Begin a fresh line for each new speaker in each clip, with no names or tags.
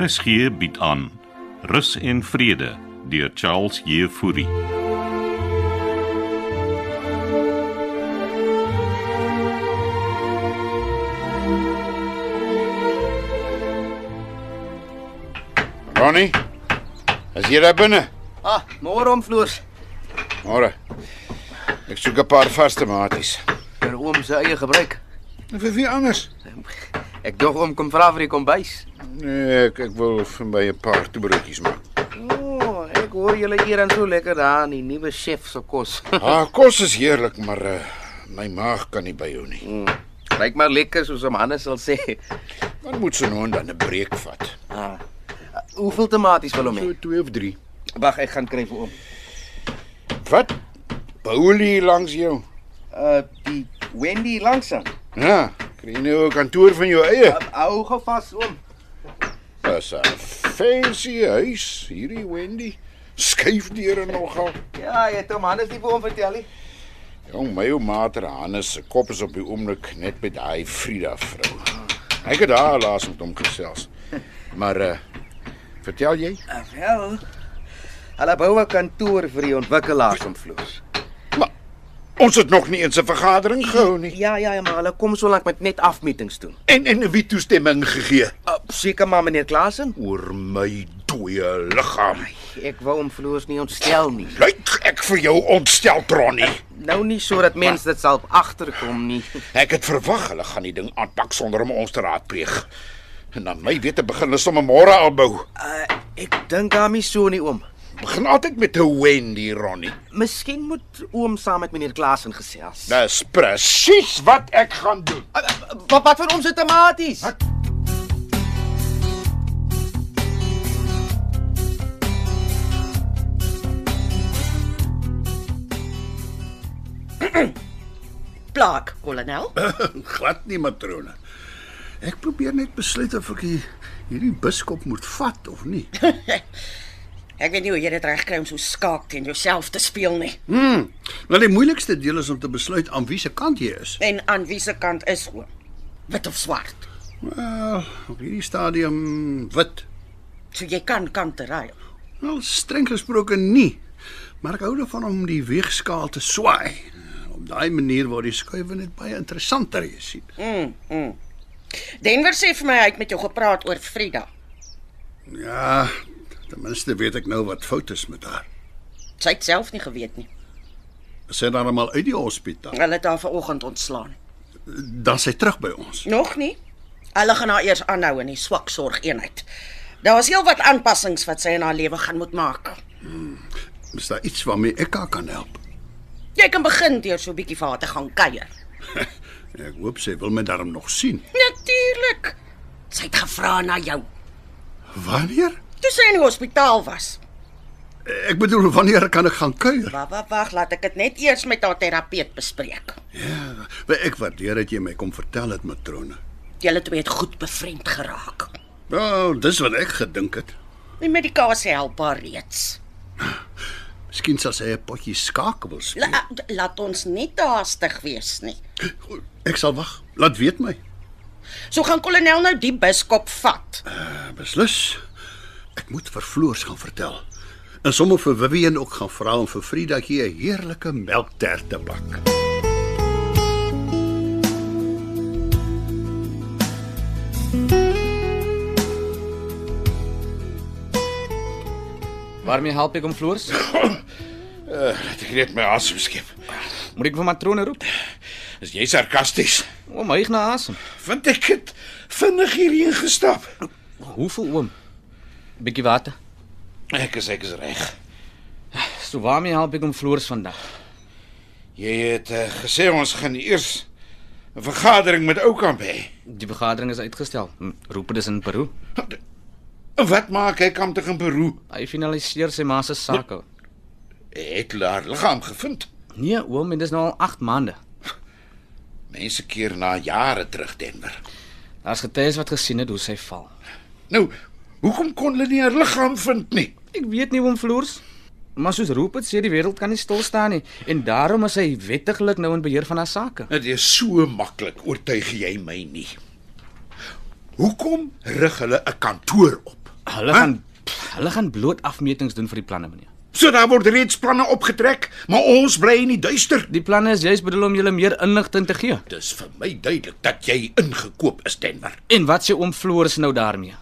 RSG bied aan Rus en Vrede deur Charles Jefouri.
Ronnie, as jy daar binne.
Ah, môre om vloers.
Môre. Ek soek 'n paar vaste maties.
Vir oom se eie gebruik.
En Vir wie anders?
Ek dog oom kom vra vir die kombuis.
Nee, ek ek wil vir my 'n paar toebroodjies maak.
O, oh, ek hoor julle hier aan so lekker daar aan die nuwe chef se kos.
Haar Ah, kos is heerlik, maar uh, my maag kan nie byhou nie.
Mm, Lyk maar lekker soos om Hannes sal sê.
Dan moet so nou en dan 'n breek vat.
Ah. Hoeveel tomaties wil hom hê?
So 2 of 3.
Wag, ek gaan kry vir oom.
Wat? Bou hulle hier langs jou?
Uh die Wendy langsam.
Ja, kry jy nou 'n kantoor van jou eie.
Hou gou vas oom.
Dis 'n fancy huis hierdie Wendy. Skuif deure nogal.
Ja, jy het hom Hannes nie vir oom vertel nie.
Jong, my ou mater Hannes se kop is op die oomblik net met daai Frida vrou. Ek het daar laas met hom gesels. Maar eh uh, vertel jy?
Ah, wel. Hulle bou 'n kantoor vir die ontwikkelaars om vloers.
Maar ons het nog nie eens 'n vergadering gehou nie.
Ja, ja, ja, maar hulle kom so lank met net afmetings doen.
En en wie toestemming gegee
Uh, seker maar meneer Klasen.
oor my dooie liggaam.
Ek wou hom vloers nie ontstel nie.
Lyk ek vir jou ontstel Tronnie.
Nou nie sodat mense dit self agterkom nie.
Ek het verwag hulle gaan die ding aanpak sonder om ons te raadpleeg. En dan my wete begin hulle sommer môre al bou.
Uh, ek dink daarmee so nie oom.
Begin altyd met 'n Wendy Ronnie.
Miskien moet oom saam met meneer Klasen gesels.
Dis presies wat ek gaan doen.
Uh, uh, wat wat van ons se tomaties?
plaak, kolonel.
Glad nie matrone. Ek probeer net besluit of ek hier- hierdie biskop moet vat of nie.
Ek weet nie hoe jy dit regkry om so skaak teen jouself te speel nie.
Hmm. Nou die moeilikste deel is om te besluit aan wie se kant jy is.
En aan wiese kant is oom? Wit of swart?
Wel, op hierdie stadium wit.
So jy kan kante raai.
Wel streng gesproke nie. Maar ek hou daarvan om die weegskaal te swaai. Op daai manier word die skuiwe net baie interessanter, jy sien.
Mm, mm. Denver sê vir my hy het met jou gepraat oor Frida.
Ja, ten minste weet ek nou wat fout is met haar.
Sy het self nie geweet nie.
Sy het haar almal uit die hospitaal.
Hulle het haar vanoggend ontslaan.
Dan sy terug by ons.
Nog nie. Hulle gaan haar eers aanhou in die swak sorgeenheid. Daar's heelwat aanpassings wat sy in haar lewe gaan moet maak.
Is daar iets waarmee ek haar kan help?
Jy kan begin deur so 'n bietjie vir haar te gaan kuier.
Ek hoop sy wil my darm nog sien.
Natuurlik. Sy het gevra na jou.
Wanneer?
Toe sy in die hospitaal was.
Ek bedoel wanneer kan ek gaan kuier?
Wag, wag, wag, laat ek dit net eers met haar terapeut bespreek.
Ja, maar ek waardeer dat jy my kom vertel het, matrone.
Julle twee het goed bevriend geraak.
Wel, dis wat ek gedink het.
Die medikasie help haar reeds.
Miskien sal sy 'n potjie skaak wil speel.
La, laat ons nie te haastig wees nie.
Ek sal wag. Laat weet my.
So gaan kolonel nou die biskop vat.
Uh, Beslis. Ek moet vir Floors gaan vertel. En sommer vir Vivian ook gaan vra om vir Friedatjie 'n heerlike melktert te bak.
Waarmee help ek om floors?
Eh,
Laat ek net my asem skep.
Moet ek vir matrone roep?
Is jy sarkasties?
Oom hyg na asem.
Want ek het vinnig hierheen gestap.
Hoeveel oom? Bietjie water.
Ek is ek is reg.
So waarmee help ek om floors vandag?
Jy het uh, gesê ons gaan eers 'n vergadering met Oukamp hê.
Die vergadering is uitgestel. Hm, Roep dit is in Peru.
Wat maak hy kamp te gaan Peru?
Hy finaliseer sy ma se sake.
Het hulle haar liggaam gevind.
Nee oom, en dit is nou al 8 maande.
Mense keer na jare terug Denver.
Daar's getuies wat gesien het hoe sy val.
Nou, hoekom kon hulle nie haar liggaam vind nie?
Ek weet nie oom floors. Maar soos roep dit sê die wêreld kan nie stil staan nie en daarom is hy wettiglik nou in beheer van haar sake.
Dit is so maklik, oortuig jy my nie. Hoekom rig hulle 'n kantoor op?
Hulle
Hæ?
gaan pff, hulle gaan bloot afmetings doen vir die planne, meneer.
So daar word reeds planne opgetrek, maar ons bly in die duister.
Die planne is juis bedoel om julle meer inligting te gee.
Dis vir my duidelik dat jy ingekoop is, Denver.
En wat sê oom Floris nou daarmee?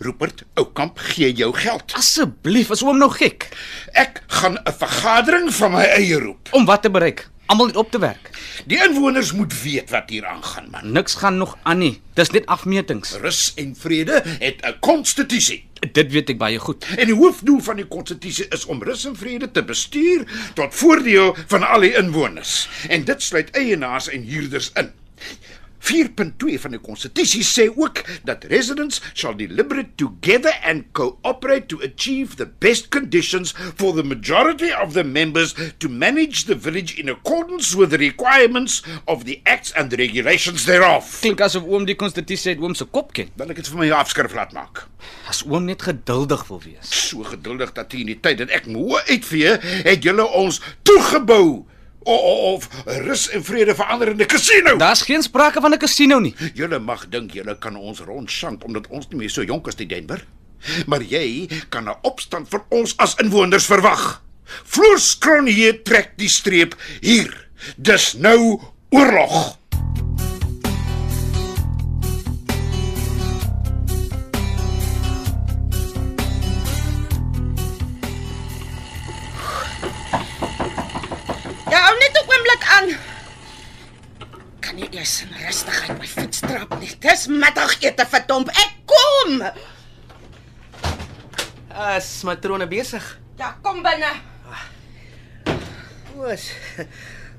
Rupert Oukamp gee jou geld.
Asseblief, is oom nou gek?
Ek gaan 'n vergadering van my eie roep.
Om wat te bereik? Almal net op te werk.
Die inwoners moet weet wat hier aangaan, man.
Niks gaan nog aan nie. Dis net afmetings.
Rus en vrede het 'n konstitusie.
Dit weet ek baie goed.
En die hoofdoel van die konstitusie is om rus en vrede te bestuur tot voordeel van al die inwoners. En dit sluit eienaars en huurders in. 4.2 van die konstitusie sê ook dat residents shall deliberate together and cooperate to achieve the best conditions for the majority of the members to manage the village in accordance with the requirements of the acts and the regulations thereof.
Klink asof oom die konstitusie uit oom se kop ken.
Dan ek dit vir my afskrif laat maak.
As oom net geduldig wil wees.
so geduldig dat hy in die tyd dat ek moe uitvee, het julle ons toegebou o- o- of rus en vrede verander in 'n casino.
Daar's geen sprake van 'n casino nie.
Julle mag dink julle kan ons rondshank omdat ons nie meer so jonk is die Denver. Maar jy kan 'n opstand van ons as inwoners verwag. Floors Kronje trek die streep hier. Dis nou oorlog.
Ja, hou net 'n oomblik aan. Kan nie eers in rustigheid my voet trap nie. Dis middagete vir Tomp. Ek kom.
As matrone besig.
Ja, kom binne.
Oos.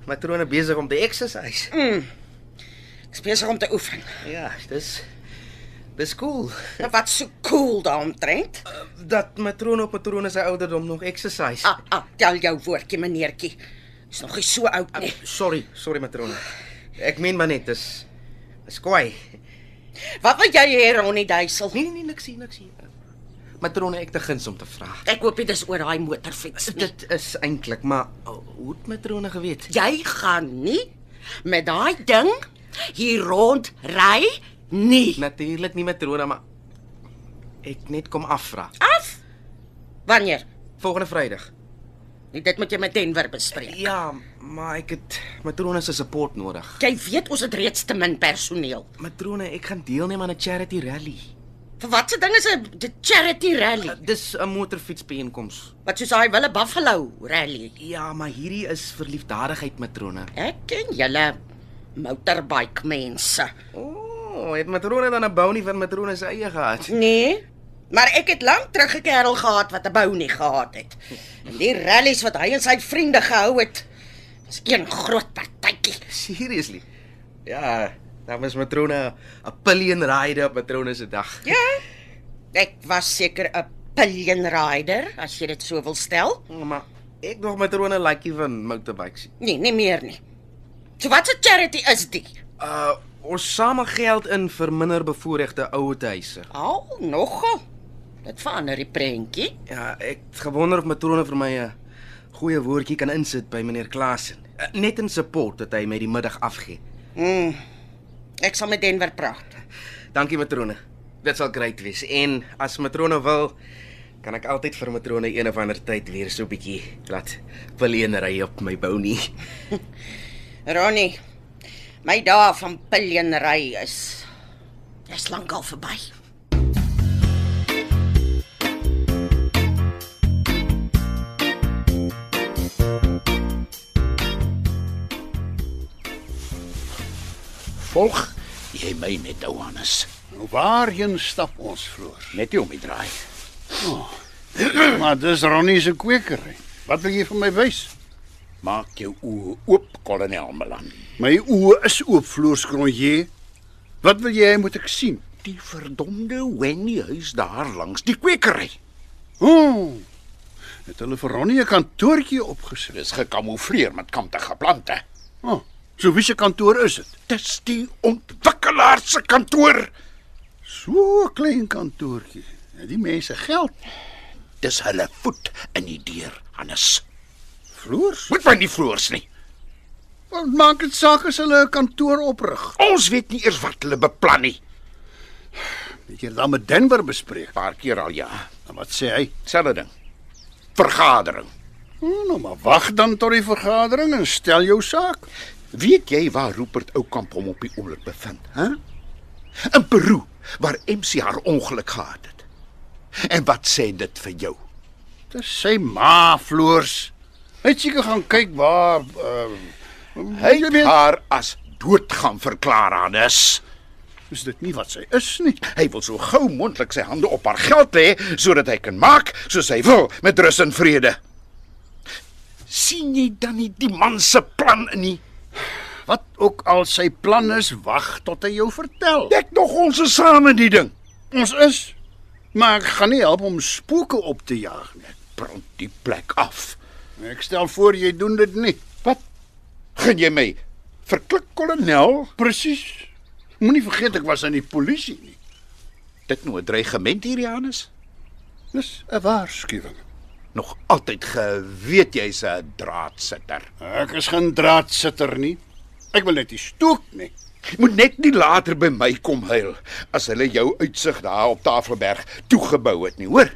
Matrone besig om te exercise.
Ek is besig om te oefen.
Ja, dis dis cool
Nou, Wat so cool daaromtrent.
dat matrone op matrone se ouderdom nog exercise.
Ah, ah, tel jou woordjie, meneertjie. Is nog nie so oud nie.
Ah, Sorry, sorry matrone. Ek meen maar net dis is kwaai.
Wat wil jy hê, Ronnie Duisel?
Nee nee nee niks hier, niks hier. Matrone ek te guns om te vra.
Ek hoop dit is oor daai motorfiets nie.
Dit is eintlik maar oh, hoe het matrone geweet?
Jy gaan nie met daai ding hier rond ry nie.
Natuurlik nie matrone maar ek net kom afvra.
Af. Wanneer?
Volgende Vrydag.
Nee, Dit moet jy met Denver bespreek.
Ja, maar ek het matrone se support nodig.
Jy weet ons het reeds te min personeel.
Matrone, ek gaan deelneem aan 'n charity rally.
Vir watse ding is 'n d- charity rally?
Dis 'n motorfietsbyeenkoms.
Wat soos daai wille buffalo rally.
Ja, maar hierdie is vir liefdadigheid, matrone.
Ek ken julle motorbike mense.
O, oh, het matrone dan 'n bounty van matrone se eie gehad?
Nee, maar ek het lank terug 'n kerel gehad wat 'n bou nie gehad het. En die rallies wat hy en sy vriende gehou het, was een groot partytjie.
Seriously. Ja, dan was matrone 'n pillion rider op matrone se dag.
Ja. Ek was seker 'n pillion rider, as jy dit so wil stel.
Maar ek nog matrone lakie van motorbikes.
Nee, nie meer nie. So wat 'n charity is die?
Uh, ons samel geld in vir minderbevoorregte ouetehuise.
Al oh, nogal. Dit verander die prentjie.
Ja, ek het gewonder of matrone vir my 'n goeie woordjie kan insit by meneer Klasen. Eh, Net in support dat hy my die middag afgee.
Mm. Ek sal met Denver praat.
Dankie matrone. Dit sal great wees. En as matrone wil, kan ek altyd vir matrone een of ander tyd weer so 'n bietjie laat peleenery op my bou nie.
Ronnie, my dae van pillion ry is is lankal verby.
Volg jy my net, Johannes.
Nou waarheen stap ons vroeër?
Net nie om die draai.
maar dis Ronnie se kwekery. Wat wil jy vir my wys?
Maak jou oë oop, kolonel Malan.
My oë is oop, Floorskronje. Wat wil jy hê moet ek sien?
Die verdomde Wendy huis daar langs die kwekery.
Ooh. Het hulle vir Ronnie 'n kantoortjie opgesit.
Dis gekamoufleer met kantige plante.
O, oh, so wie se kantoor is dit?
Dis die ontwikkelaar se kantoor.
So 'n klein kantoortjie. Het die mense geld?
Dis hulle voet in die deur, Hannes.
Floors?
Moet my nie floors nie.
Wat maak dit saak as hulle 'n kantoor oprig?
Ons weet nie eers wat hulle beplan nie.
Het jy dit dan met Denver bespreek?
Paar keer al ja.
En wat sê hy?
Selfde ding. Vergadering.
Hm, nou maar wag dan tot die vergadering en stel jou saak.
Weet jy waar Rupert Oukamp hom op die oomblik bevind, hè? In Peru waar MC haar ongeluk gehad het. En wat sê dit vir jou?
Dis sy ma floors. Het jy gaan kyk waar uh,
Hy het haar as dood gaan verklaar aan is.
is dit nie wat sy is nie.
Hy wil so gou moontlik sy hande op haar geld lê sodat hy kan maak soos hy wil met rus en vrede. sien jy dan nie die man se plan in nie?
Wat ook al sy plan is, wag tot hy jou vertel.
Dek nog ons is saam in die ding.
Ons is maar ek gaan nie help om spooke op te jaag nie.
Brand die plek af.
Ek stel voor jy doen dit nie.
Wat? Gaan jy my verklik kolonel?
Presies. Moenie vergeet ek was aan die polisie nie.
Dit nou 'n dreigement hier Janus?
Dis 'n waarskuwing.
Nog altyd geweet jy's 'n draadsitter.
Ek is geen draadsitter nie. Ek wil net nie stook nie.
Moet net nie later by my kom huil as hulle jou uitsig daar op Tafelberg toegebou het nie, hoor?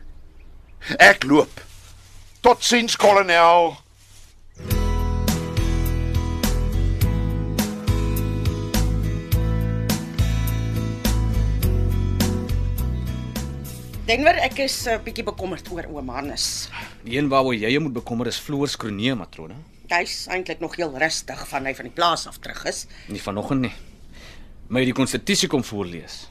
Ek loop. Totsiens kolonel.
Denver, ek is 'n uh, bietjie bekommerd oor oom Hannes.
Die een waaroor jy jou moet bekommer is Floors Kronee matrone.
Hy's eintlik nog heel rustig van hy van die plaas af terug is.
Nie vanoggend nie. My het die konstitusie kom voorlees.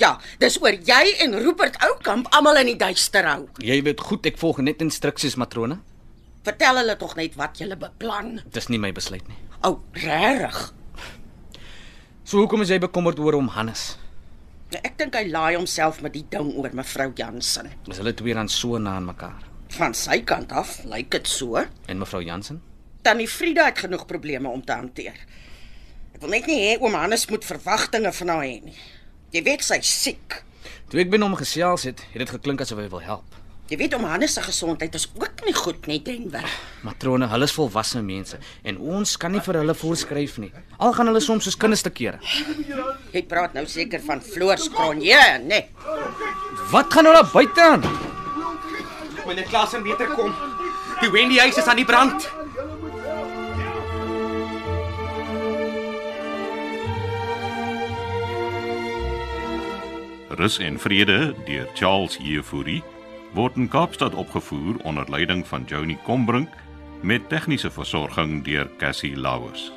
Ja, dis oor jy en Rupert Oukamp almal in die duister hou.
Jy weet goed ek volg net instruksies matrone.
Vertel hulle tog net wat julle beplan.
Dis nie my besluit nie.
O, oh, regtig?
So hoekom is jy bekommerd oor hom Hannes?
Ek dink hy laai homself met die ding oor mevrou Jansen.
Is hulle twee dan so na aan mekaar?
Van sy kant af lyk dit so.
En mevrou Jansen?
Tannie Frieda het genoeg probleme om te hanteer. Ek wil net nie hê oom Hannes moet verwagtinge van haar hê nie. Jy weet sy's siek.
Toe ek binne hom gesels het, het dit geklink asof hy wil help.
Jy weet oom Hannes se gesondheid is ook nie goed nie, Denver.
Matrone, hulle is volwasse mense en ons kan nie vir hulle voorskryf nie. Al gaan hulle soms soos kinders te kere.
Jy praat nou seker van Floors Kronje, né? Nee.
Wat gaan nou daar buite aan?
Meneer Klasen meter kom. Die Wendy huis is aan die brand.
Rus en Vrede deur Charles Jefouri word in Kaapstad opgevoer onder leiding van Johnny Combrink met tegniese versorging deur Cassie Lauers.